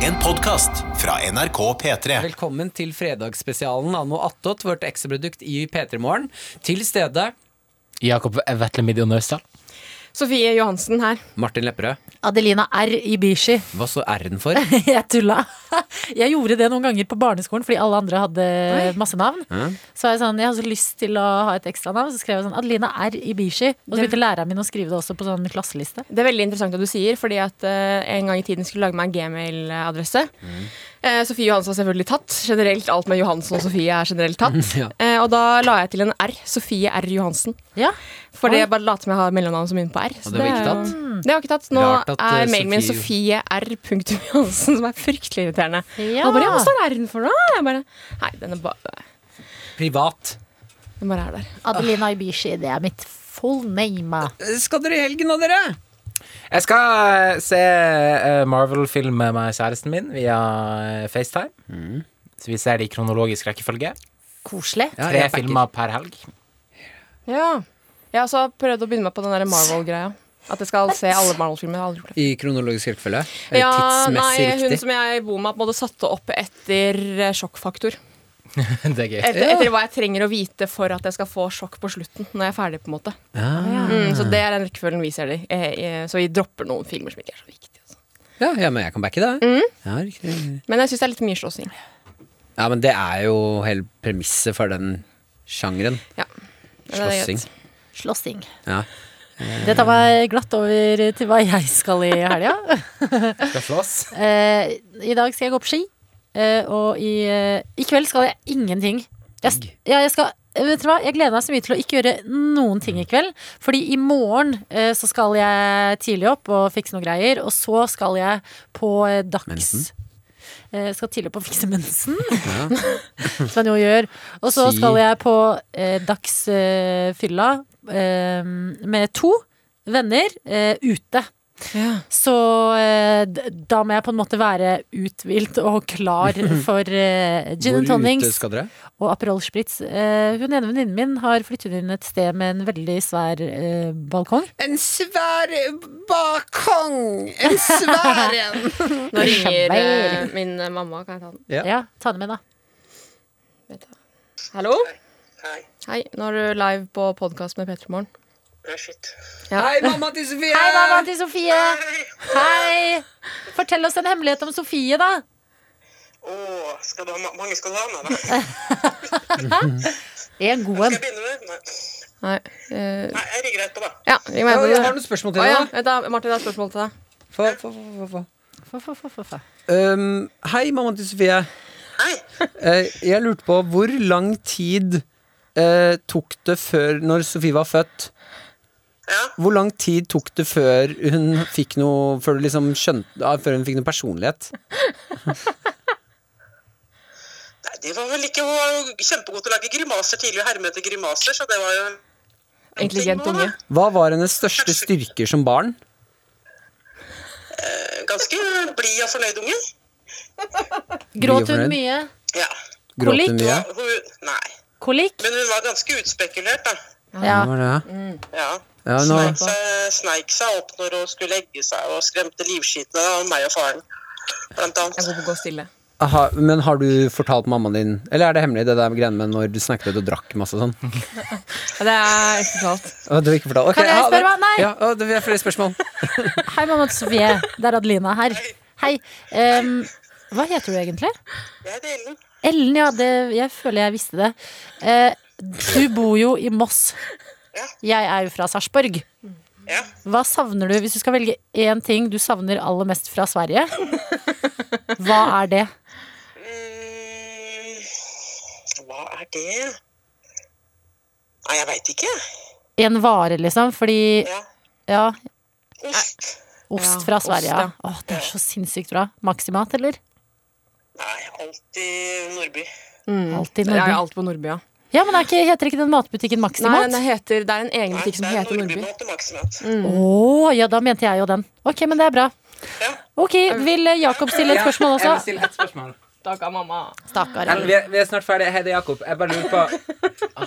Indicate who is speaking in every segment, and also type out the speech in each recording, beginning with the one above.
Speaker 1: En podcast fra NRK P3.
Speaker 2: Velkommen til fredagsspesialen Anno Attåt, vårt ekstraprodukt i P3 Morgen. Til stede
Speaker 3: Jakob Vetlemid og Nøsdal.
Speaker 4: Sofie Johansen her.
Speaker 2: Martin Lepperød.
Speaker 5: Adelina R. Ibishi.
Speaker 2: Hva så R-en for?
Speaker 5: Jeg tulla. Jeg gjorde det noen ganger på barneskolen fordi alle andre hadde masse navn. Så var jeg sånn, jeg hadde så lyst til å ha et ekstra navn, så skrev jeg sånn Adelina R. Ibishi. Og så begynte læreren min å skrive det også på sånn klasseliste.
Speaker 4: Det er veldig interessant at du sier, fordi at eh, en gang i tiden skulle jeg lage meg en gmail-adresse.
Speaker 2: Mm.
Speaker 4: Eh, Sofie Johansen var selvfølgelig tatt. Generelt alt med Johansen og Sofie er generelt tatt.
Speaker 2: ja.
Speaker 4: Eh, og da la jeg til en R. Sofie R. Johansen.
Speaker 5: Ja.
Speaker 4: Fordi jeg bare later som jeg har mellomnavnet som begynner på R.
Speaker 2: Og det var ikke tatt?
Speaker 4: Det var ikke tatt. Nå
Speaker 2: Rart at, eh,
Speaker 4: er mailen min
Speaker 2: Sofie-
Speaker 4: Sofie R. Johansen, som er fryktelig irriterende.
Speaker 5: Ja.
Speaker 4: Og bare, ja, hva står R-en for da? Jeg bare, Nei, den, er ba
Speaker 2: Privat.
Speaker 4: den bare er der.
Speaker 5: Adelina Ibishi, det er mitt full name.
Speaker 2: Skal dere i helgen nå, dere?
Speaker 3: Jeg skal eh, se eh, Marvel-film med meg og kjæresten min via eh, FaceTime. Så vi ser det i kronologisk rekkefølge.
Speaker 5: Koselig.
Speaker 2: Ja,
Speaker 3: Tre
Speaker 2: jeg backer.
Speaker 3: filmer per helg.
Speaker 4: Ja. Jeg har også prøvd å begynne meg på den der Marvel-greia. At jeg skal se alle Marvel-filmer. Jeg har aldri gjort det.
Speaker 2: I kronologisk rekkefølge? Eller
Speaker 4: Ja, nei,
Speaker 2: tidsmessig
Speaker 4: hun
Speaker 2: riktig?
Speaker 4: som jeg bor med, på en måte satte opp etter eh, sjokkfaktor.
Speaker 3: det er gøy.
Speaker 4: Etter,
Speaker 2: Ja.
Speaker 4: etter hva jeg trenger å vite for at jeg skal få sjokk på slutten. Når jeg er ferdig på en måte
Speaker 2: Ah.
Speaker 4: mm, Så det er den rekkefølgen vi ser det i. Eh, eh, Så vi dropper noen filmer som ikke er så viktige. altså.
Speaker 2: Ja, ja, men jeg kan backe det.
Speaker 4: Mm.
Speaker 2: Ja, riktig.
Speaker 4: Men jeg syns det er litt mye slåssing.
Speaker 2: ja, men det er jo hele premisset for den sjangeren.
Speaker 4: Ja. Men det er
Speaker 2: Slåssing.
Speaker 4: greit.
Speaker 5: Slåssing.
Speaker 2: Ja.
Speaker 5: Dette var glatt over til hva jeg skal i helga.
Speaker 3: Skal slåss.
Speaker 5: Eh, I dag skal jeg gå på ski, eh, og i, eh, i kveld skal jeg ingenting. Jeg, s- ja, jeg skal eh, Vet du hva, Jeg gleder meg så mye til å ikke gjøre noen ting i kveld. Fordi i morgen eh, så skal jeg tidlig opp og fikse noen greier. Og så skal jeg på eh, dags
Speaker 2: Mensen?
Speaker 5: Eh, skal tidlig opp og fikse mensen,
Speaker 2: Ja.
Speaker 5: som jeg nå gjør. Og så
Speaker 2: Si.
Speaker 5: skal jeg på eh, dagsfylla eh, med to venner eh, ute. Så eh, d- da må jeg på en måte være uthvilt og klar for eh, gin and
Speaker 2: Hvor ute
Speaker 5: tonics
Speaker 2: skal dere?
Speaker 5: og Aperol Spritz. Eh, hun ene venninnen min har flyttet inn et sted med en veldig svær eh, balkong.
Speaker 2: En svær balkong! En svær en!
Speaker 4: Nå ringer eh, min eh, mamma. Kan jeg ta den?
Speaker 2: Ja.
Speaker 5: Ja, ta den med, da.
Speaker 4: Vet du. Hallo?
Speaker 6: Hei.
Speaker 4: Hei. Nå er du live på podkast med Petter Morgen.
Speaker 6: Nei, shit.
Speaker 2: Hei, mamma til Sofie!
Speaker 5: Hei, mamma til Sofie!
Speaker 6: Hei!
Speaker 5: Hei! Fortell oss en hemmelighet om Sofie, da.
Speaker 6: Åh, skal du ha, ma- mange skal du ha med? Nei. Skal
Speaker 5: En god en.
Speaker 6: jeg begynne med? Nei,
Speaker 4: Nei. eh,
Speaker 6: Nei jeg rigger etterpå, da.
Speaker 4: ja, ring meg
Speaker 2: Ja,
Speaker 4: på
Speaker 2: jeg har
Speaker 4: det.
Speaker 2: noen spørsmål
Speaker 4: Å
Speaker 2: til
Speaker 4: ja.
Speaker 2: deg.
Speaker 4: Vent, da. Martin, jeg har et spørsmål til deg.
Speaker 2: Få, få, få, få, få.
Speaker 5: Få, få, få, få, få.
Speaker 2: Um, hei, mamma til Sofie.
Speaker 6: Hei.
Speaker 2: Eh, jeg lurte på hvor lang tid eh, tok det før Når Sofie var født,
Speaker 6: Ja.
Speaker 2: hvor lang tid tok det før hun fikk noe Før, du liksom skjønte, ja, før hun fikk noe personlighet?
Speaker 6: Nei, de var vel ikke hun var jo kjempegod til å lage grimaser tidlig og herme etter grimaser, så det var jo en ting
Speaker 4: Intelligent
Speaker 6: nå, da.
Speaker 4: unge.
Speaker 2: Hva var hennes største styrker som barn?
Speaker 6: Ganske blid og fornøyd unge.
Speaker 5: Gråt hun
Speaker 2: fornøyd?
Speaker 5: mye?
Speaker 6: Ja.
Speaker 2: Gråt hun
Speaker 5: Kolikk?
Speaker 2: mye?
Speaker 6: Hun, nei.
Speaker 5: Kolikk?
Speaker 6: Men hun var ganske utspekulert, da.
Speaker 5: Ja.
Speaker 2: Hva var det?
Speaker 6: Ja.
Speaker 2: Ja, nå,
Speaker 6: Sneik, seg, sneik seg opp når hun skulle legge seg, og skremte livskitene av meg og faren, blant
Speaker 4: Jeg er
Speaker 6: annet.
Speaker 4: god på å gå stille.
Speaker 2: aha, men har du fortalt mammaen din Eller er det hemmelig, det der med greiene med når du snakket og drakk masse og sånn?
Speaker 4: Ja, det er ikke totalt.
Speaker 2: Å, du har ikke fortalt. Ok,
Speaker 5: Kan jeg
Speaker 2: ja,
Speaker 5: spørre
Speaker 2: da-
Speaker 5: hva? Nei.
Speaker 2: Ja, å, det er flere spørsmål.
Speaker 5: Hei, mamma til Sofie. Det er Adelina her. Hei. Em, hva heter du egentlig?
Speaker 6: Jeg heter Ellen.
Speaker 5: Ellen, ja. Det, jeg føler jeg visste det. Eh, du bor jo i Moss.
Speaker 6: Ja.
Speaker 5: Jeg er jo fra Sarpsborg.
Speaker 6: Ja.
Speaker 5: Hva savner du hvis du skal velge én ting du savner aller mest fra Sverige? Hva er det?
Speaker 6: Mm, Hva er det? Nei, jeg veit ikke.
Speaker 5: En vare, liksom? Fordi
Speaker 6: Ja.
Speaker 5: Ja,
Speaker 6: Ost.
Speaker 5: ost
Speaker 4: Ja,
Speaker 5: fra
Speaker 4: ost,
Speaker 5: Sverige. Ja.
Speaker 4: ja.
Speaker 5: Åh, det er så sinnssykt bra. Maximat, eller?
Speaker 6: Nei, alltid Nordby.
Speaker 5: Alltid
Speaker 4: Det er jo
Speaker 5: Nordby.
Speaker 4: alt på Nordby, Mm. ja.
Speaker 5: Ja, men er ikke, heter ikke den matbutikken
Speaker 4: Nei,
Speaker 5: Maximat?
Speaker 4: det, heter, det er en egen
Speaker 6: Nei,
Speaker 4: butikk som
Speaker 6: det er
Speaker 4: heter Nordby. Mm.
Speaker 6: Nordbymat og Maximat.
Speaker 5: Å, ja, da mente jeg jo den. Ok, men det er bra.
Speaker 6: Ja.
Speaker 5: Ok, Vil eh, Jakob stille et spørsmål
Speaker 3: Jeg vil
Speaker 5: også?
Speaker 3: stille ett spørsmål.
Speaker 4: Takk av mamma.
Speaker 5: Stakkar.
Speaker 3: Ellen, vi, er, vi er snart ferdig. Hei, det er Jakob. Jeg bare lurer på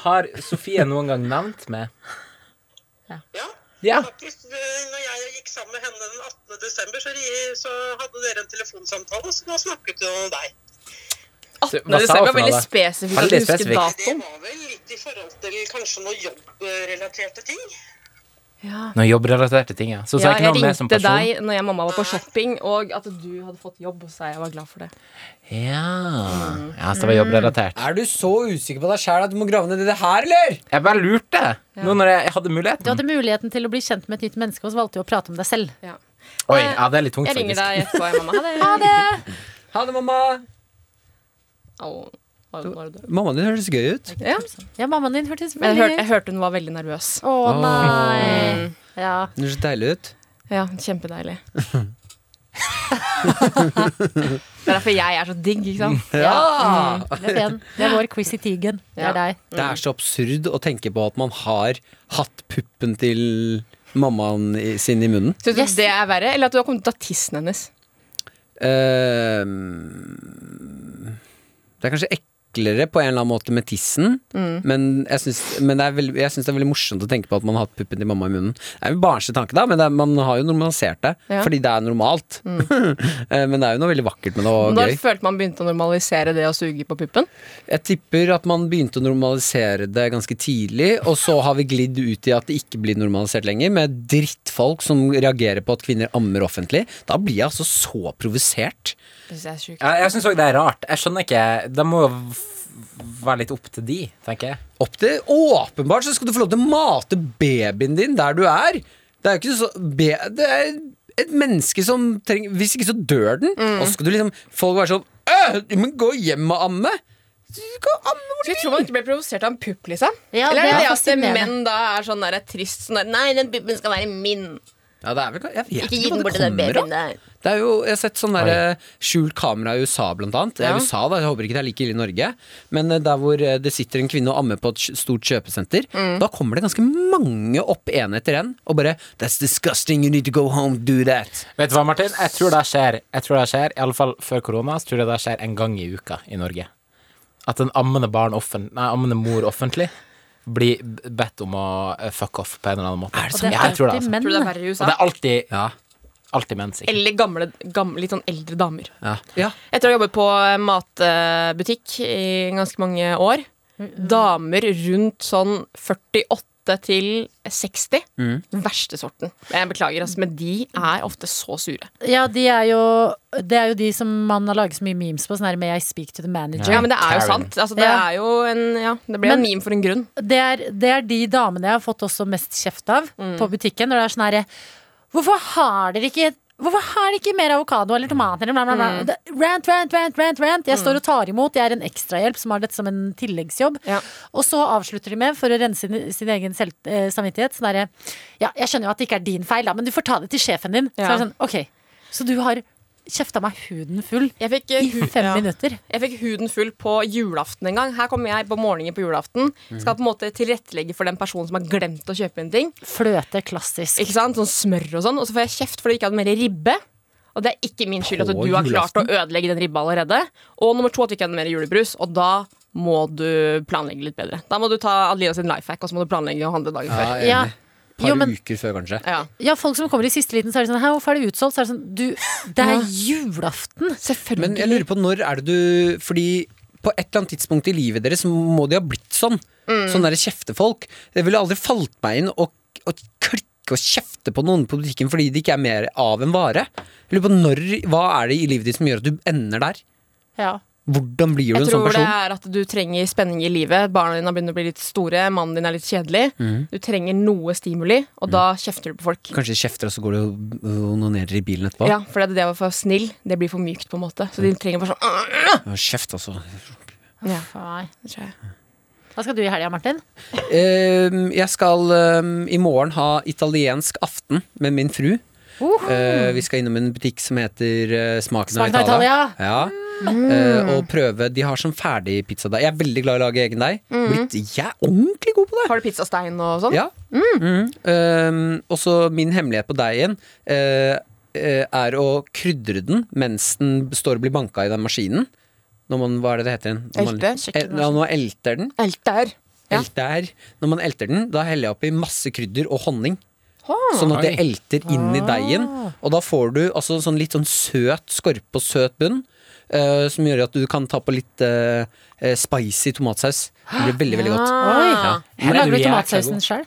Speaker 3: Har Sofie noen gang nevnt meg?
Speaker 6: Ja.
Speaker 3: Ja.
Speaker 6: Faktisk, eh, når jeg gikk sammen med henne den 18. desember, så, ri- så hadde dere en telefonsamtale, så da snakket hun om deg.
Speaker 3: Hva sa
Speaker 4: 18. desember
Speaker 3: hun
Speaker 4: er
Speaker 3: for noe,
Speaker 4: veldig
Speaker 3: da?
Speaker 4: spesifikt at
Speaker 3: Veldig
Speaker 4: du husker
Speaker 3: spesifikt.
Speaker 6: Det
Speaker 4: datoen.
Speaker 6: var vel litt i forhold til kanskje noen jobbrelaterte ting.
Speaker 4: Ja.
Speaker 3: Noen jobbrelaterte ting, ja. Så
Speaker 4: Ja,
Speaker 3: sa ikke noe
Speaker 4: jeg
Speaker 3: om meg som
Speaker 4: ringte
Speaker 3: person.
Speaker 4: deg når jeg og mamma var på shopping, og at du hadde fått jobb, så jeg var glad for det.
Speaker 3: Ja. ja, så det var jobbrelatert.
Speaker 2: Er du så usikker på deg sjæl at du må grave ned i det her, eller?
Speaker 3: Jeg bare lurte, nå når jeg hadde
Speaker 5: Du
Speaker 3: muligheten.
Speaker 5: hadde muligheten til å bli kjent med et nytt menneske, og så valgte du å prate om deg selv.
Speaker 4: Ja.
Speaker 3: Oi, ja, det er litt tungt,
Speaker 4: Jeg ringer
Speaker 3: faktisk.
Speaker 4: deg etterpå, jeg, mamma. Ha det!
Speaker 2: Ha det, mamma.
Speaker 4: Au. Au, var det du?
Speaker 2: Mammaen din høres gøy ut.
Speaker 4: Ja.
Speaker 5: Ja, mammaen din hørtes
Speaker 4: Men Jeg, hørte, Mm.
Speaker 5: veldig
Speaker 4: jeg hørte hun var veldig nervøs.
Speaker 5: Å nei. Ja.
Speaker 2: Hun høres deilig ut.
Speaker 4: Ja, Kjempedeilig. Det er derfor jeg er så digg, ikke sant?
Speaker 5: ja. Mm, det er pen. Det er vår quiz i tigen. Det
Speaker 4: Ja.
Speaker 5: er deg.
Speaker 2: Det er så absurd å tenke på at man har hatt puppen til mammaen i- sin i munnen.
Speaker 4: Syns du
Speaker 5: Yes.
Speaker 4: det er verre, eller at du har kommet ut av tissen hennes?
Speaker 2: Eh, det er kanskje eklere på en eller annen måte med tissen, men, jeg syns, men det er veldig, jeg syns det er veldig morsomt å tenke på at man har hatt puppen til mamma i munnen. Det er jo en barnslig tanke, da, men det er, man har jo normalisert det.
Speaker 4: Ja.
Speaker 2: Fordi det er normalt. Eh, men det er jo noe veldig vakkert med det, og
Speaker 4: Når
Speaker 2: gøy.
Speaker 4: følte man begynte å normalisere det å suge på puppen?
Speaker 2: Jeg tipper at man begynte å normalisere det ganske tidlig, og så har vi glidd ut i at det ikke blir normalisert lenger, med drittfolk som reagerer på at kvinner ammer offentlig. Da blir jeg altså så provosert.
Speaker 4: Det synes jeg er sjukt.
Speaker 3: Ja, jeg syns òg det er rart. Jeg skjønner ikke Det må jo f- være litt opp til de, tenker jeg.
Speaker 2: Opp til Åpenbart så skal du få lov til å mate babyen din der du er. Det er jo ikke så be, Det er et menneske som trenger Hvis ikke, så dør den. Og så skal du liksom Folk være sånn «Øh, Men gå hjem og amme! Du kan amme hvor du
Speaker 4: Skulle tro man ikke ble provosert av en pupp, liksom.
Speaker 5: Ja,
Speaker 4: eller er
Speaker 5: det
Speaker 4: det
Speaker 5: er
Speaker 4: det at
Speaker 5: fascinerende.
Speaker 4: menn da er sånn der, trist sånn der Nei, den puppen skal være min.
Speaker 2: Ja, det er vel Jeg vet
Speaker 4: Ikke gi
Speaker 2: ikke
Speaker 4: den
Speaker 2: hvor
Speaker 4: bort
Speaker 2: det
Speaker 4: til den
Speaker 2: kommer
Speaker 4: babyen
Speaker 2: av.
Speaker 4: der.
Speaker 2: Det er jo, jeg har sett sånn der eh, skjult kamera i USA, blant annet. Ja.
Speaker 4: Ja.
Speaker 2: USA da, Jeg håper ikke det er like ille i Norge. Men eh, der hvor eh, det sitter en kvinne og ammer på et kj- stort kjøpesenter, da kommer det ganske mange opp en etter en og bare That's disgusting, you need to go home, do that.
Speaker 3: Vet du hva, Martin? Jeg tror det skjer, jeg tror det skjer i alle fall før korona, så tror jeg det skjer en gang i uka i Norge. At en ammende, barn offen, nei, ammende mor offentlig blir b- bedt om å eh, fuck off på en eller annen måte.
Speaker 5: Og det
Speaker 3: ja, jeg
Speaker 5: er
Speaker 3: tror det,
Speaker 5: alltid
Speaker 3: altså.
Speaker 4: Tror du det er
Speaker 5: menn.
Speaker 4: verre i
Speaker 3: Og det
Speaker 4: USA?
Speaker 3: er alltid,
Speaker 2: Ja.
Speaker 3: alltid menn, sikkert.
Speaker 4: Eller gamle, gamle, litt sånn eldre damer.
Speaker 2: Ja.
Speaker 4: Etter å ha jobbet på eh, matbutikk i ganske mange år, damer rundt sånn 48 til 60,
Speaker 3: Mm.
Speaker 4: den verste sorten. Jeg beklager, altså, men de er ofte så sure.
Speaker 5: Ja, de er jo, det er jo de som man har laget så mye memes på, sånn her med 'I speak to the manager'.
Speaker 4: Ja, men det er jo
Speaker 3: Karen.
Speaker 4: sant. Altså, det
Speaker 5: Ja.
Speaker 4: er jo en Ja, det ble en
Speaker 5: Men-
Speaker 4: meme for en grunn.
Speaker 5: det er, det er de damene jeg har fått også mest kjeft av
Speaker 4: Mm.
Speaker 5: på butikken. Når det er sånn herre Hvorfor har dere ikke Hvorfor har dere ikke mer avokado eller tomater? Bla, bla, bla.
Speaker 4: Mm.
Speaker 5: Det, rant, rant, rant, rant, rant. Jeg står og tar imot. Jeg er en ekstrahjelp som har dette som en tilleggsjobb.
Speaker 4: Ja.
Speaker 5: Og så avslutter de med, for å rense sin, sin egen selv, eh, samvittighet, sånn herre Ja, jeg skjønner jo at det ikke er din feil, da, men du får ta det til sjefen din. Så
Speaker 4: Ja.
Speaker 5: er det sånn, ok. Så du har kjefta meg huden full
Speaker 4: Jeg fikk, eh,
Speaker 5: i
Speaker 4: hu-
Speaker 5: fem
Speaker 4: ja.
Speaker 5: minutter.
Speaker 4: Jeg fikk huden full på julaften en gang. Her kommer jeg på morgenen på julaften. Skal på en måte tilrettelegge for den personen som har glemt å kjøpe en ting.
Speaker 5: Fløte klassisk.
Speaker 4: Ikke sant? Sånn smør og sånn. Og så får jeg kjeft fordi jeg ikke hadde mer ribbe. Og det er ikke min skyld at
Speaker 2: På
Speaker 4: du har klart
Speaker 2: julaften?
Speaker 4: å ødelegge den ribba allerede. Og nummer to at vi ikke hadde mer julebrus. Og da må du planlegge litt bedre. Da må du ta Adelina sin life hack, og så må du planlegge å handle dagen
Speaker 2: Ah,
Speaker 4: før.
Speaker 5: Ja.
Speaker 2: Et par
Speaker 5: Jo, men-
Speaker 2: uker før, kanskje.
Speaker 4: Ja.
Speaker 5: Ja, folk som kommer i siste liten, så er det sånn Hæ, hvorfor er det utsolgt? Så er det sånn Du, det er julaften!
Speaker 4: Selvfølgelig.
Speaker 2: Men jeg lurer på når er det du Fordi på et eller annet tidspunkt i livet deres må de ha blitt sånn.
Speaker 4: Mm.
Speaker 2: Sånn derre kjeftefolk. Det ville aldri falt meg inn å, å klikke og kjefte på noen på butikken fordi det ikke er mer av en vare. Jeg lurer på når, Hva er det i livet ditt som gjør at du ender der?
Speaker 5: Ja.
Speaker 2: Hvordan blir du
Speaker 4: Jeg
Speaker 2: en sånn
Speaker 4: tror det
Speaker 2: person?
Speaker 4: er at du trenger spenning i livet. Barna dine har begynt å bli litt store, mannen din er litt kjedelig.
Speaker 2: Mm.
Speaker 4: Du trenger noe stimuli, og da kjefter du på folk.
Speaker 2: Kanskje de kjefter, og så går du og onanerer i bilen etterpå.
Speaker 4: Ja, for det, det var for snill. Det blir for mykt, på en måte. Så de trenger bare sånn «Åh!»
Speaker 2: Ja, Kjeft, altså.
Speaker 4: ja,
Speaker 5: Faen meg.
Speaker 4: det tror jeg.
Speaker 5: Hva skal du i helga, Martin?
Speaker 2: Ehm, jeg skal ehm, i morgen ha italiensk aften med min fru. Eh, vi skal innom en butikk som heter eh, Smaken,
Speaker 5: Smaken av
Speaker 2: av Italia.
Speaker 5: Italia. Mm.
Speaker 2: Ja. Eh, og prøve De har sånn ferdig pizzadeig. Jeg er veldig glad i å lage egen deig.
Speaker 5: Mm.
Speaker 2: Blitt, jeg er ordentlig god på det!
Speaker 4: Har du pizzastein og sånn?
Speaker 2: Ja.
Speaker 5: Mm.
Speaker 2: Mhm. Ehm, og så min hemmelighet på deigen eh, eh, er å krydre den mens den står og blir banka i den maskinen. Når man, hva er det det heter igjen? Når man-
Speaker 4: Elte?
Speaker 2: Eh, Ja, når man elter den.
Speaker 4: Elter. Ja.
Speaker 2: Elter. Når man elter den, da heller jeg oppi masse krydder og honning. Sånn at det
Speaker 3: Oi.
Speaker 2: elter inn
Speaker 5: Ah.
Speaker 2: i deigen. Og da får du altså sånn litt sånn søt skorpe og søt bunn. eh, som gjør at du kan ta på litt eh, eh, spicy tomatsaus. Det blir veldig, veldig godt.
Speaker 5: Oi!
Speaker 4: Ja.
Speaker 3: Her er du
Speaker 5: Lager du
Speaker 3: jækla
Speaker 5: tomatsausen
Speaker 3: god.
Speaker 5: sjøl?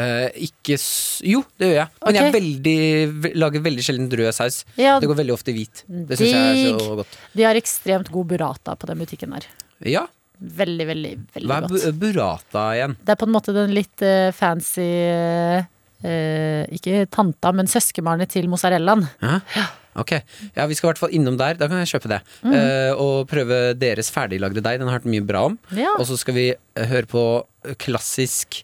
Speaker 2: Eh, ikke s Jo, det gjør jeg. Men jeg er veldig, ve- lager veldig sjelden rød saus.
Speaker 5: Ja,
Speaker 2: Det går veldig ofte i hvit. Det syns jeg er så godt.
Speaker 5: De har ekstremt god burrata på den butikken der.
Speaker 2: Ja,
Speaker 5: Veldig, veldig, veldig
Speaker 2: hva er
Speaker 5: godt.
Speaker 2: bu- burrata igjen?
Speaker 5: Det er på en måte den litt eh, fancy eh, Ikke tanta, men søskenbarnet til mozzarellaen.
Speaker 2: Hæ? Ok, ja Vi skal i hvert fall innom der. Da kan jeg kjøpe det. Eh, og prøve deres ferdiglagde deig. Den har jeg hørt mye bra om.
Speaker 5: Ja.
Speaker 2: Og så skal vi eh, høre på klassisk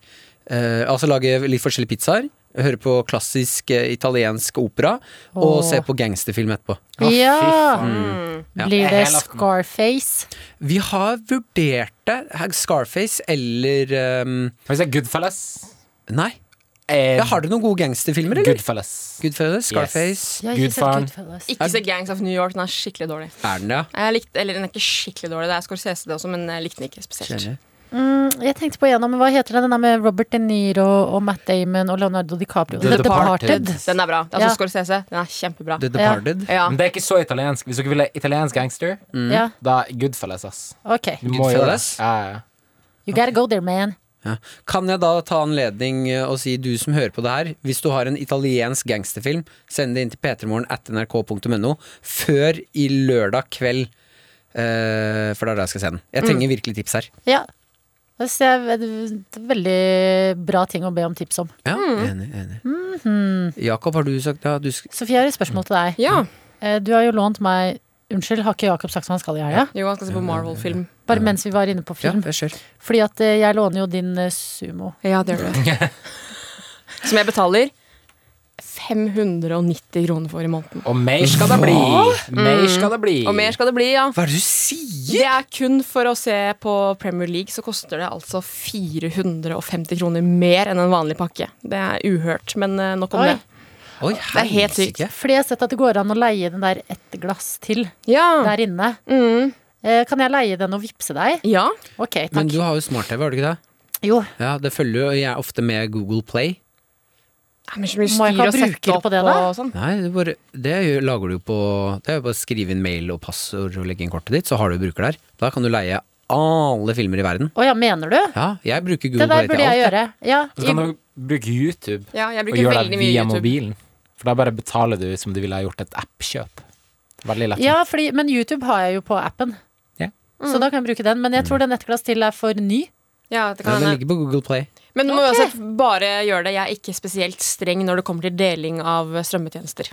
Speaker 2: eh, Altså lage litt forskjellige pizzaer. Høre på klassisk eh, italiensk opera. Og
Speaker 5: Åh.
Speaker 2: se på gangsterfilm etterpå.
Speaker 3: Å, fy
Speaker 5: Ja.
Speaker 3: faen.
Speaker 2: Ja.
Speaker 5: Blir det
Speaker 3: Helaften.
Speaker 5: Scarface?
Speaker 2: Vi har vurdert det. Scarface eller ehm,
Speaker 3: Kan vi se Goodfellas?
Speaker 2: Nei.
Speaker 3: Eh,
Speaker 2: Ja, har dere noen gode gangsterfilmer, eller?
Speaker 3: Goodfellas.
Speaker 2: Goodfellas, Scarface.
Speaker 5: Jeg har ikke sett
Speaker 3: Gudfaren.
Speaker 5: Goodfellas.
Speaker 4: Ikke se Gangs of New York, den er skikkelig dårlig.
Speaker 2: Er den det, ja?
Speaker 4: Jeg likte, eller den er ikke skikkelig dårlig, det er Scorsese det også, men jeg likte den ikke spesielt.
Speaker 2: Skjønner.
Speaker 5: Mm, Jeg tenkte på igjennom, hva heter den der med Robert De Niro og Matt Damon og Leonardo DiCaprio?
Speaker 3: The Departed.
Speaker 4: Den er bra. Det er
Speaker 5: Ja.
Speaker 4: også Scorsese. Den er kjempebra.
Speaker 2: The Departed.
Speaker 4: Ja.
Speaker 3: Men det er ikke så italiensk. Hvis dere vil ha italiensk gangster,
Speaker 5: Ja,
Speaker 3: da Goodfellas, ass.
Speaker 5: ok.
Speaker 3: Du
Speaker 2: Mm.
Speaker 3: må gjøre det.
Speaker 2: Goodfellas?
Speaker 3: Ja, ja, ja.
Speaker 5: You gotta go there, man.
Speaker 2: Ja. Kan jeg da ta anledning eh, og si, du som hører på det her, hvis du har en italiensk gangsterfilm, send det inn til p3morgen at nrk.no før i lørdag kveld. Eh, for det er da jeg skal se den. Jeg trenger
Speaker 4: Mm.
Speaker 2: virkelig tips her.
Speaker 5: Ja. Det er et veldig bra ting å be om tips om.
Speaker 2: Ja,
Speaker 4: Mm.
Speaker 2: Enig. enig
Speaker 4: Mhm.
Speaker 2: Jakob, har du sagt ja, du sk
Speaker 5: Sofie, jeg har et spørsmål til deg.
Speaker 4: ja.
Speaker 5: Eh, Du har jo lånt meg Unnskyld, har ikke Jakob sagt hva han skal i helga?
Speaker 4: Jo, han skal se på Marvel-film.
Speaker 5: Bare mens vi var inne på
Speaker 2: Ja,
Speaker 5: film.
Speaker 2: kjør.
Speaker 5: Fordi at eh, jeg låner jo din eh, sumo.
Speaker 4: Ja, det gjør du. Som jeg betaler 590 kroner for i måneden.
Speaker 3: Og mer skal det bli! Mer skal det bli.
Speaker 4: Mm. Og mer skal det bli, ja.
Speaker 2: Hva er det du sier?!
Speaker 4: Det er kun for å se på Premier League, så koster det altså 450 kroner mer enn en vanlig pakke. Det er uhørt, men eh, nok om
Speaker 5: Oi.
Speaker 4: det.
Speaker 2: Oi,
Speaker 4: er helt sykt.
Speaker 2: helsike.
Speaker 5: Fordi jeg har sett at det går an å leie den der ett glass til
Speaker 4: Ja.
Speaker 5: der inne.
Speaker 4: Mm.
Speaker 5: Eh, Kan jeg leie den og vippse deg?
Speaker 4: ja.
Speaker 5: Ok, takk.
Speaker 2: Men du har jo smart-TV, har du ikke det?
Speaker 5: Jo,
Speaker 2: Ja, det følger jo jeg ofte med Google Play.
Speaker 4: Det er mye så mye
Speaker 5: Må jeg ikke
Speaker 4: styr
Speaker 5: ha
Speaker 4: å sette
Speaker 5: bruker
Speaker 4: opp
Speaker 5: på det,
Speaker 4: og
Speaker 5: da?
Speaker 4: sånn.
Speaker 2: Nei, det, bare, det gjør- lager du jo på Det er jo bare å skrive inn mail og passord og legge inn kortet ditt, så har du bruker der. Da kan du leie alle filmer i verden.
Speaker 5: Å ja, mener du?
Speaker 2: Ja, jeg bruker
Speaker 5: Det
Speaker 2: Google
Speaker 5: der
Speaker 2: Play
Speaker 5: burde
Speaker 2: til
Speaker 5: jeg
Speaker 2: alt.
Speaker 5: gjøre. Ja,
Speaker 3: Og så kan
Speaker 5: i,
Speaker 3: du bruke YouTube
Speaker 4: Ja, jeg
Speaker 3: og
Speaker 4: bruker
Speaker 3: gjøre det
Speaker 4: veldig mye
Speaker 3: via
Speaker 4: YouTube.
Speaker 3: mobilen. For da bare betaler du som du ville ha gjort et appkjøp. Veldig lett.
Speaker 5: ja fordi, men YouTube har jeg jo på appen.
Speaker 3: Ja.
Speaker 5: Så da kan jeg bruke den. Men
Speaker 4: Mm.
Speaker 5: jeg tror den ett glass til er for ny.
Speaker 4: Ja, det
Speaker 2: Ja,
Speaker 4: kan
Speaker 2: den
Speaker 4: hende.
Speaker 2: ligger på Google Play.
Speaker 4: Men du må uansett bare gjøre det. Jeg er ikke spesielt streng når det kommer til deling av strømmetjenester.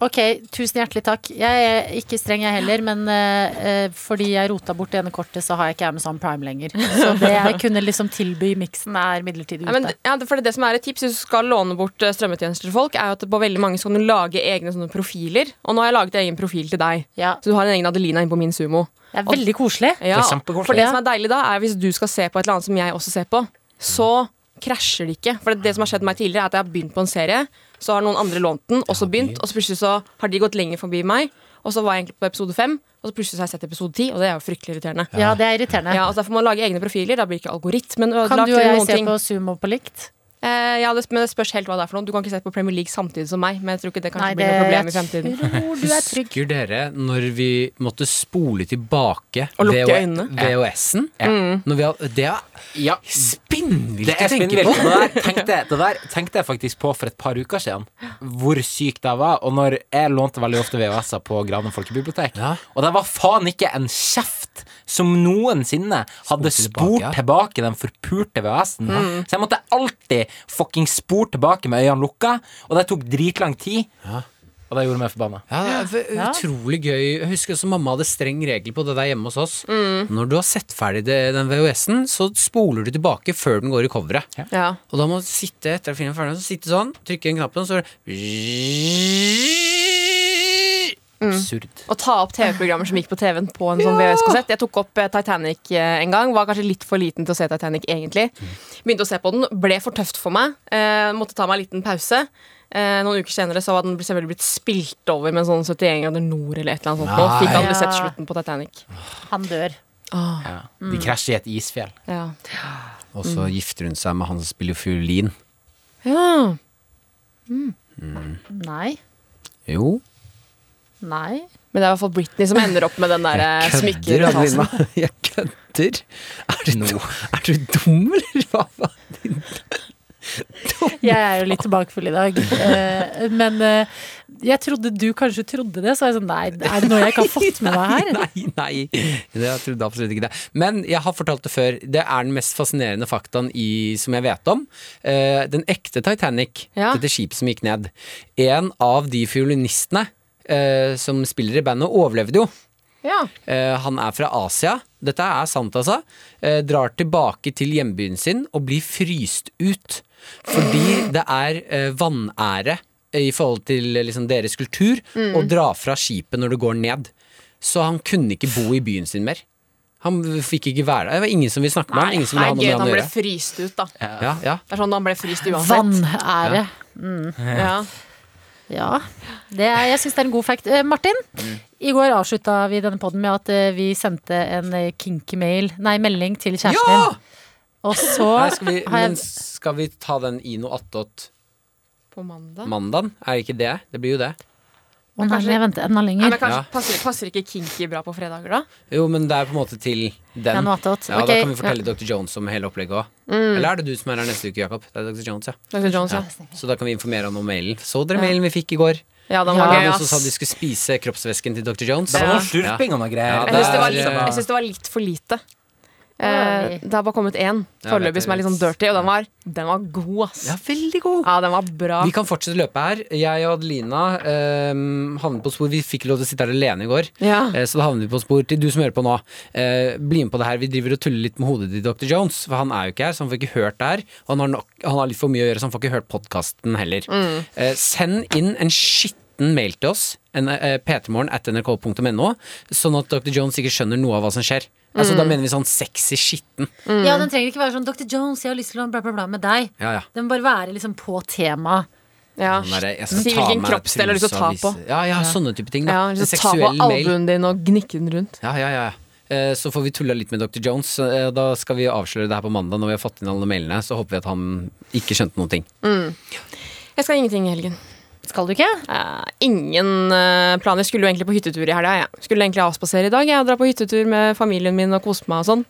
Speaker 5: Ok, tusen hjertelig takk. Jeg er ikke streng jeg heller, men eh, eh, fordi jeg rota bort det ene kortet, så har jeg ikke Amazon Prime lenger. Så det jeg kunne liksom tilby i miksen, er midlertidig
Speaker 4: Ja, men,
Speaker 5: ute.
Speaker 4: ja, for det, er det som er et tips Hvis du skal låne bort eh, strømmetjenester til folk, er jo at på veldig mange så kan du lage egne sånne profiler. Og nå har jeg laget egen profil til deg.
Speaker 5: Ja,
Speaker 4: Så du har en egen Adelina inn på min sumo.
Speaker 5: det er veldig koselig.
Speaker 4: Ja,
Speaker 3: Det er kjempekoselig.
Speaker 4: for det som er deilig da, er hvis du skal se på et eller annet som jeg også ser på, så krasjer det ikke. For det, det som har skjedd meg tidligere, er at jeg har begynt på en serie, så har noen andre lånt den, og så begynt, og så plutselig så har de gått lenger forbi meg, og så var jeg egentlig på episode fem, og så plutselig så har jeg sett episode ti, og det er jo fryktelig irriterende.
Speaker 5: Ja, det er irriterende.
Speaker 4: Ja, og Derfor må man lage egne profiler. Da blir ikke algoritmen ødelagt.
Speaker 5: Kan du og
Speaker 4: eller
Speaker 5: jeg
Speaker 4: noen
Speaker 5: se
Speaker 4: ting.
Speaker 5: på sumo på likt?
Speaker 4: Eh, ja, det, men det spørs helt hva det er for noe. Du kan ikke se på Premier League samtidig som meg. Men jeg tror ikke det kanskje
Speaker 5: Nei, det
Speaker 4: blir noe problem i
Speaker 5: jeg
Speaker 4: fremtiden.
Speaker 5: tror du er trygg.
Speaker 2: Husker dere når vi måtte spole tilbake E-
Speaker 4: Og lukke
Speaker 2: VH
Speaker 4: øynene.
Speaker 2: VHS-en?
Speaker 5: Mm.
Speaker 2: Når vi har- Det er
Speaker 3: Ja,
Speaker 2: spinnvilt
Speaker 3: det
Speaker 2: å
Speaker 3: er
Speaker 2: tenke
Speaker 3: spinnvilt.
Speaker 2: på!
Speaker 3: Det, der tenkte jeg- det der tenkte jeg faktisk på for et par uker siden, hvor syk det var. Og når jeg lånte veldig ofte VHS-er på Granen folkebibliotek,
Speaker 2: Ja.
Speaker 3: og det var faen ikke en kjeft som noensinne hadde
Speaker 2: tilbake, ja.
Speaker 3: spurt tilbake den forpurte VHS-en. Så jeg måtte alltid fucking spore tilbake med øynene lukka, og det tok dritlang tid. Og det gjorde meg forbanna.
Speaker 2: Ja, det er
Speaker 5: Ja.
Speaker 2: utrolig gøy. Jeg husker også mamma hadde streng regel på det der hjemme hos oss.
Speaker 5: Mm.
Speaker 2: Når du har sett ferdig det, den VHS-en, så spoler du tilbake før den går i coveret.
Speaker 4: Ja.
Speaker 2: Og da må du sitte etter at filmen er ferdig, så sitte sånn, trykke inn knappen, så er det
Speaker 3: Absurd.
Speaker 4: Å ta opp TV-programmer som gikk på TV-en på en sånn VHS-kassett. Jeg tok opp eh, Titanic eh, en gang. Var kanskje litt for liten til å se Titanic, egentlig. Begynte å se på den, ble for tøft for meg. Eh, måtte ta meg en liten pause. Eh, noen uker senere så var den selvfølgelig blitt spilt over med en sånn 71 grader nord eller et eller annet sånt. nå. Fikk aldri
Speaker 5: Nei.
Speaker 4: sett slutten på Titanic.
Speaker 5: Han dør.
Speaker 2: Ah.
Speaker 3: Ja. Mm. De krasjer i et isfjell.
Speaker 4: Ja.
Speaker 2: Mm. Og så gifter hun seg med han som spiller fiolin.
Speaker 4: ja.
Speaker 5: Nei.
Speaker 2: Jo.
Speaker 5: Nei.
Speaker 4: Men det er i hvert fall Britney som ender opp med den der eh,
Speaker 2: Kødder, Adelina.
Speaker 4: smykketassen.
Speaker 2: Jeg kødder. Er du, dum- er du dum, eller hva? hva?
Speaker 5: Jeg er jo litt tilbakefull i dag. Eh, Men eh, jeg trodde du kanskje trodde det, så er jeg sånn nei, er det noe jeg ikke har fått med meg her?
Speaker 2: Nei, nei. Det jeg trodde absolutt ikke det. Men jeg har fortalt det før. Det er den mest fascinerende faktaen i, som jeg vet om. Eh, den ekte Titanic,
Speaker 4: Ja.
Speaker 2: dette skipet som gikk ned. En av de fiolinistene eh, som spiller i bandet, overlevde jo.
Speaker 4: Ja.
Speaker 2: Eh, han er fra Asia. Dette er sant, altså. Eh, drar tilbake til hjembyen sin og blir fryst ut. Fordi det er eh, vanære i forhold til eh, liksom, deres kultur å dra fra skipet når det går ned. Så han kunne ikke bo i byen sin mer. Han fikk ikke være der. Det var ingen som ville snakke med ham. Ingen som
Speaker 4: Nei,
Speaker 2: ville ha noe
Speaker 4: gøy
Speaker 2: med
Speaker 4: at
Speaker 2: han
Speaker 4: han
Speaker 2: å
Speaker 4: ble
Speaker 2: gjøre.
Speaker 4: fryst ut, da. Det
Speaker 2: Ja, ja.
Speaker 4: er sånn han ble fryst uansett.
Speaker 5: Vanære.
Speaker 4: Ja.
Speaker 5: Ja. Det er, jeg syns det er en god fact. Eh, Martin,
Speaker 2: Mm.
Speaker 5: i går avslutta vi denne poden med at eh, vi sendte en eh, kinky mail, nei, melding til kjæresten
Speaker 2: ja!
Speaker 5: din. Og så
Speaker 2: Nei, skal, vi,
Speaker 5: har
Speaker 2: men
Speaker 5: jeg
Speaker 2: skal vi ta den Ino attåt
Speaker 4: På mandag.
Speaker 2: mandagen? Er det ikke det? Det blir jo det.
Speaker 5: Å nei,
Speaker 4: Kanskje-
Speaker 5: jeg venter enda
Speaker 4: Nei,
Speaker 5: lenger.
Speaker 4: men kanskje,
Speaker 2: Ja.
Speaker 4: passer, passer ikke kinky bra på fredager, da?
Speaker 2: Jo, men det er på en måte til den.
Speaker 5: Den attåt.
Speaker 2: Ja,
Speaker 5: Ok, Mm.
Speaker 2: Da kan vi fortelle Dr. Jones om hele opplegget òg. Eller er det du som er her neste uke, Jakob? Det er Dr. Jones, ja.
Speaker 4: Dr. Jones, ja.
Speaker 2: Så da kan vi informere han om mailen. Så dere mailen vi fikk i går?
Speaker 4: Ja, den
Speaker 5: Ja.
Speaker 2: Det var
Speaker 4: var gøy,
Speaker 2: Noen som sa de
Speaker 4: ass.
Speaker 2: skulle spise kroppsvæsken til Dr. Jones.
Speaker 3: Det var
Speaker 4: Ja.
Speaker 3: noe slurping og noe
Speaker 2: Ja,
Speaker 3: greier.
Speaker 4: Jeg syns det, var
Speaker 2: Der,
Speaker 4: litt-
Speaker 2: eh,
Speaker 4: jeg synes det var litt for lite.
Speaker 5: Ja,
Speaker 4: Eh,
Speaker 5: vi-
Speaker 4: det har bare kommet én
Speaker 2: jeg vet
Speaker 4: foreløpig som er litt sånn
Speaker 2: det.
Speaker 4: dirty, og den var, den var god, ass.
Speaker 2: Ja, veldig god.
Speaker 4: Ja, den var bra.
Speaker 2: Vi kan fortsette løpet her. Jeg og Adelina um, havnet på spor. Vi fikk ikke lov til å sitte her alene i går,
Speaker 4: Ja.
Speaker 2: Eh, så da havnet vi på spor til du som hører på nå. eh, bli med på det her. Vi driver og tuller litt med hodet til Dr. Jones, for han er jo ikke her, så han får ikke hørt det her. Og han har, nok, han har litt for mye å gjøre, så han får ikke hørt podkasten heller.
Speaker 4: Mm.
Speaker 2: Eh, send inn en skitten mail til oss, en, eh, ptmorgen at nrk.no, sånn at Dr. Jones ikke skjønner noe av hva som skjer. Altså,
Speaker 4: Mm.
Speaker 2: Da mener vi sånn sexy skitten.
Speaker 5: Ja, den trenger ikke være sånn Dr. Jones, jeg har lyst til å bla, bla, bla med deg.
Speaker 2: Mm. Ja, ja.
Speaker 5: Den må bare være liksom på temaet.
Speaker 4: Ja.
Speaker 2: Han derre, Sånn jeg skal
Speaker 4: Si
Speaker 2: ta
Speaker 4: Ah, hvilken
Speaker 2: meg
Speaker 4: kroppsdel har du lyst til å ta
Speaker 2: trusa og
Speaker 4: på.
Speaker 2: vise- Ja, ja, sånne type ting. Da.
Speaker 4: Ja,
Speaker 2: En
Speaker 4: så ta på
Speaker 2: seksuell mail.
Speaker 4: albuen din og gnikke den rundt.
Speaker 2: Ja, ja, ja. Eh, Så får vi tulla litt med Dr. Jones. Eh, Da skal vi avsløre det her på mandag når vi har fått inn alle mailene. Så håper vi at han ikke skjønte noen ting.
Speaker 4: Jeg skal ingenting i helgen.
Speaker 5: Skal du ikke?
Speaker 4: Eh, ingen eh, planer. Skulle jo egentlig på hyttetur i helga. jeg. Skulle egentlig avspasere i dag. Jeg drar på hyttetur med familien min og kose meg og sånn.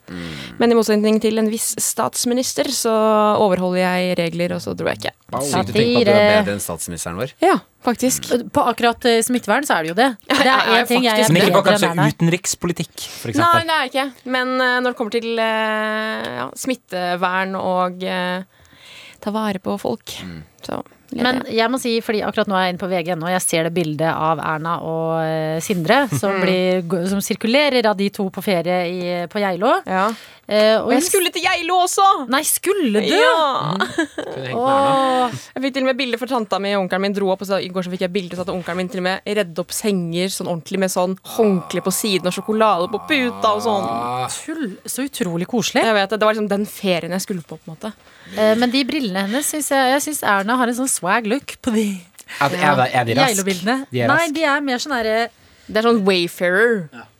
Speaker 4: Men i motsetning til en viss statsminister, så overholder jeg regler, og så dro jeg ikke.
Speaker 2: Sykt å tenke på at du er bedre enn statsministeren vår.
Speaker 4: Ja, faktisk.
Speaker 5: På akkurat eh, smittevern så er det jo det. Det
Speaker 4: Jeg
Speaker 5: er
Speaker 4: er
Speaker 5: én ting jeg
Speaker 4: faktisk-
Speaker 5: er
Speaker 3: Men ikke på
Speaker 5: bedre enn
Speaker 3: kanskje
Speaker 5: er der.
Speaker 3: utenrikspolitikk, for
Speaker 4: Nei,
Speaker 3: eksempel.
Speaker 4: det er jeg ikke. Men eh, når det kommer til eh, ja, smittevern og eh, ta vare på folk, så leder
Speaker 5: Men
Speaker 4: jeg.
Speaker 5: jeg må si, fordi akkurat nå er jeg inne på VG.no, og jeg ser det bildet av Erna og eh, Sindre som, blir, som sirkulerer av de to på ferie i, på Geilo.
Speaker 4: Ja.
Speaker 5: Eh,
Speaker 4: Og jeg skulle til Geilo også!
Speaker 5: Nei, skulle du?
Speaker 4: Ja!
Speaker 2: Kunne hengt med Erna.
Speaker 4: Mm. Jeg fikk til og med bilder for tanta mi og onkelen min dro opp. Og så i går så fikk jeg bilder så at onkelen min til og med redde opp senger sånn ordentlig med sånn håndkle på siden og sjokolade på puta og sånn.
Speaker 2: Ah.
Speaker 5: Tull, så utrolig koselig.
Speaker 4: Jeg vet det, det var liksom den ferien jeg skulle på, på en måte.
Speaker 5: Eh, men de brillene hennes syns jeg, jeg synes Erna har en sånn swag look på de
Speaker 3: Er, de- er, de- er de rask?
Speaker 5: Geilo-bildene.
Speaker 3: De er
Speaker 5: Nei,
Speaker 3: rask.
Speaker 5: de er mer sånn herre
Speaker 4: Det er sånn Wayfarer.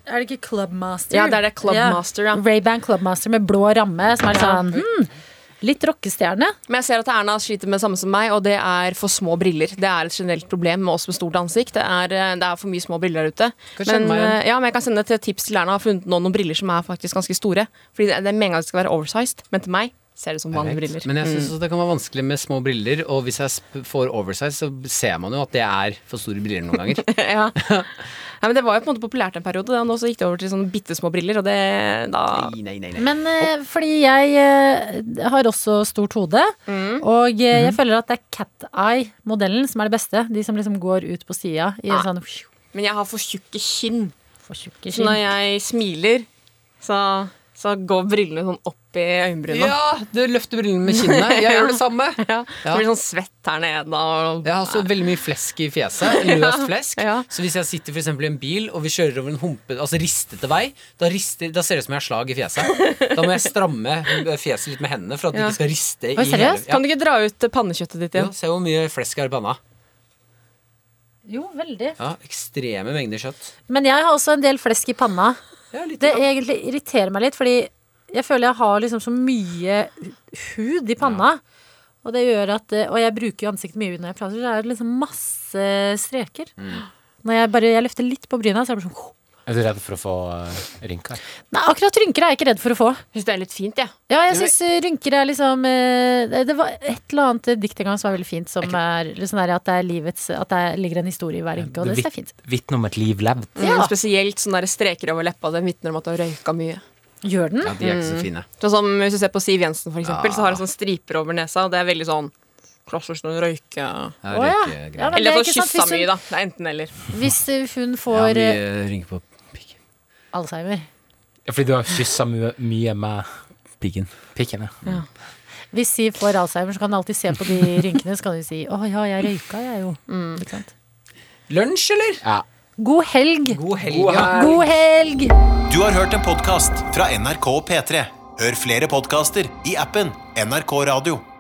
Speaker 5: Er det ikke Clubmaster?
Speaker 4: Ja, det er det Clubmaster, ja.
Speaker 5: Ray-Ban Clubmaster med blå ramme, som er sånn hmm, litt rockestjerne.
Speaker 4: Men jeg ser at Erna sliter med det samme som meg, og det er for små briller. Det er et generelt problem med oss med stort ansikt. Det er, eh, det er for mye små briller der ute.
Speaker 2: Kan
Speaker 4: Men,
Speaker 2: kjenne meg igjen.
Speaker 4: eh, ja, men jeg kan sende et tips til Erna. Jeg har funnet noen, noen briller som er faktisk ganske store. Fordi det, det er meningen at det skal være oversized, men til meg ser det ut som vanlige
Speaker 2: Perfekt.
Speaker 4: briller.
Speaker 2: Men jeg syns det kan være vanskelig med små briller, og hvis jeg sp- får oversize, så ser man jo at det er for store briller noen ganger.
Speaker 4: ja. Nei, men det var jo på en måte populært en periode, da, og nå så gikk det over til sånne bitte små briller. Og det, da,
Speaker 2: Nei, nei, nei, nei.
Speaker 5: Men eh, fordi jeg eh, har også stort hode,
Speaker 4: Mm.
Speaker 5: og eh,
Speaker 4: Mhm.
Speaker 5: jeg føler at det er cat eye-modellen som er det beste. De som liksom går ut på sida i
Speaker 4: Ah.
Speaker 5: en sånn
Speaker 4: men jeg har for tjukke kinn.
Speaker 5: for tjukke
Speaker 4: Så når
Speaker 5: skinn.
Speaker 4: jeg smiler, så, så går brillene sånn opp i øyenbryna. Ja.
Speaker 2: Ja, du løfter brillene med kinnet. Jeg gjør det samme.
Speaker 4: Så blir det sånn svett her nede. Og,
Speaker 2: Jeg har også veldig mye flesk i fjeset. Løst flesk.
Speaker 4: Ja.
Speaker 2: Så hvis jeg sitter for eksempel i en bil og vi kjører over en humpe, altså ristete vei, da, rister, da ser det ut som jeg har slag i fjeset. Da må jeg stramme fjeset litt med hendene for at det
Speaker 4: Ja.
Speaker 2: ikke skal riste.
Speaker 5: Oi,
Speaker 2: i
Speaker 5: seriøst?
Speaker 2: hele-
Speaker 4: Kan du ikke dra ut pannekjøttet ditt
Speaker 2: Ja. Jo,
Speaker 4: igjen?
Speaker 2: se hvor mye flesk jeg har i panna.
Speaker 5: Jo, veldig.
Speaker 2: Ja, ekstreme mengder kjøtt.
Speaker 5: Men jeg har også en del flesk i panna.
Speaker 2: Ja, litt
Speaker 5: Det
Speaker 2: grann.
Speaker 5: egentlig irriterer meg litt, fordi jeg føler jeg har liksom så mye hud i panna. Og det gjør at, eh, og jeg bruker jo ansiktet mye når jeg prater, så det er liksom masse streker. Når jeg bare, jeg løfter litt på bryna, så er jeg bare sånn
Speaker 3: Er du redd for å få eh, rynker?
Speaker 5: Nei, akkurat rynker er jeg ikke redd for å få.
Speaker 4: Jeg syns det er litt fint, jeg.
Speaker 5: Ja, jeg syns rynker er liksom eh, Det det var et eller annet eh, dikt en gang som var veldig fint, som er litt sånn der at det er livets At det er- ligger en historie i hver rynke, og det syns jeg er fint.
Speaker 3: Vitne om et liv levd.
Speaker 5: Ja.
Speaker 4: Men Mm. Spesielt sånne der streker over leppa. Den vitner om at du har røyka mye.
Speaker 5: Gjør den?
Speaker 2: Ja, de er ikke så fine.
Speaker 4: Sånn som Hvis du ser på Siv Jensen, for eksempel, så har hun sånn striper over nesa. Og det er veldig sånn klassisk når hun røyker.
Speaker 2: Ja,
Speaker 5: Å, ja.
Speaker 2: røykegreier.
Speaker 5: Ja, men det
Speaker 4: Eller
Speaker 5: er
Speaker 4: at hun
Speaker 5: ikke sant,
Speaker 4: kyssa
Speaker 5: hvis
Speaker 4: mye,
Speaker 5: hun,
Speaker 4: da. Det er enten eller.
Speaker 5: hvis eh, hun
Speaker 2: Ja,
Speaker 5: får eh,
Speaker 2: mye rynker på pikken.
Speaker 5: Alzheimer
Speaker 3: Ja, fordi du har kyssa mye, mye med
Speaker 2: Piggen.
Speaker 3: pikken. Mm. Ja.
Speaker 5: Hvis de får Alzheimer, så kan de alltid se på de rynkene, så kan de si 'Å ja, jeg røyka, jeg jo'.
Speaker 2: Mm.
Speaker 5: Ikke sant?
Speaker 2: Lunsj, eller?
Speaker 3: Ja.
Speaker 5: God helg!
Speaker 2: God helg. ja.
Speaker 5: God helg!
Speaker 1: Du har hørt en podcast fra NRK P3. Hør flere podcaster i appen NRK Radio.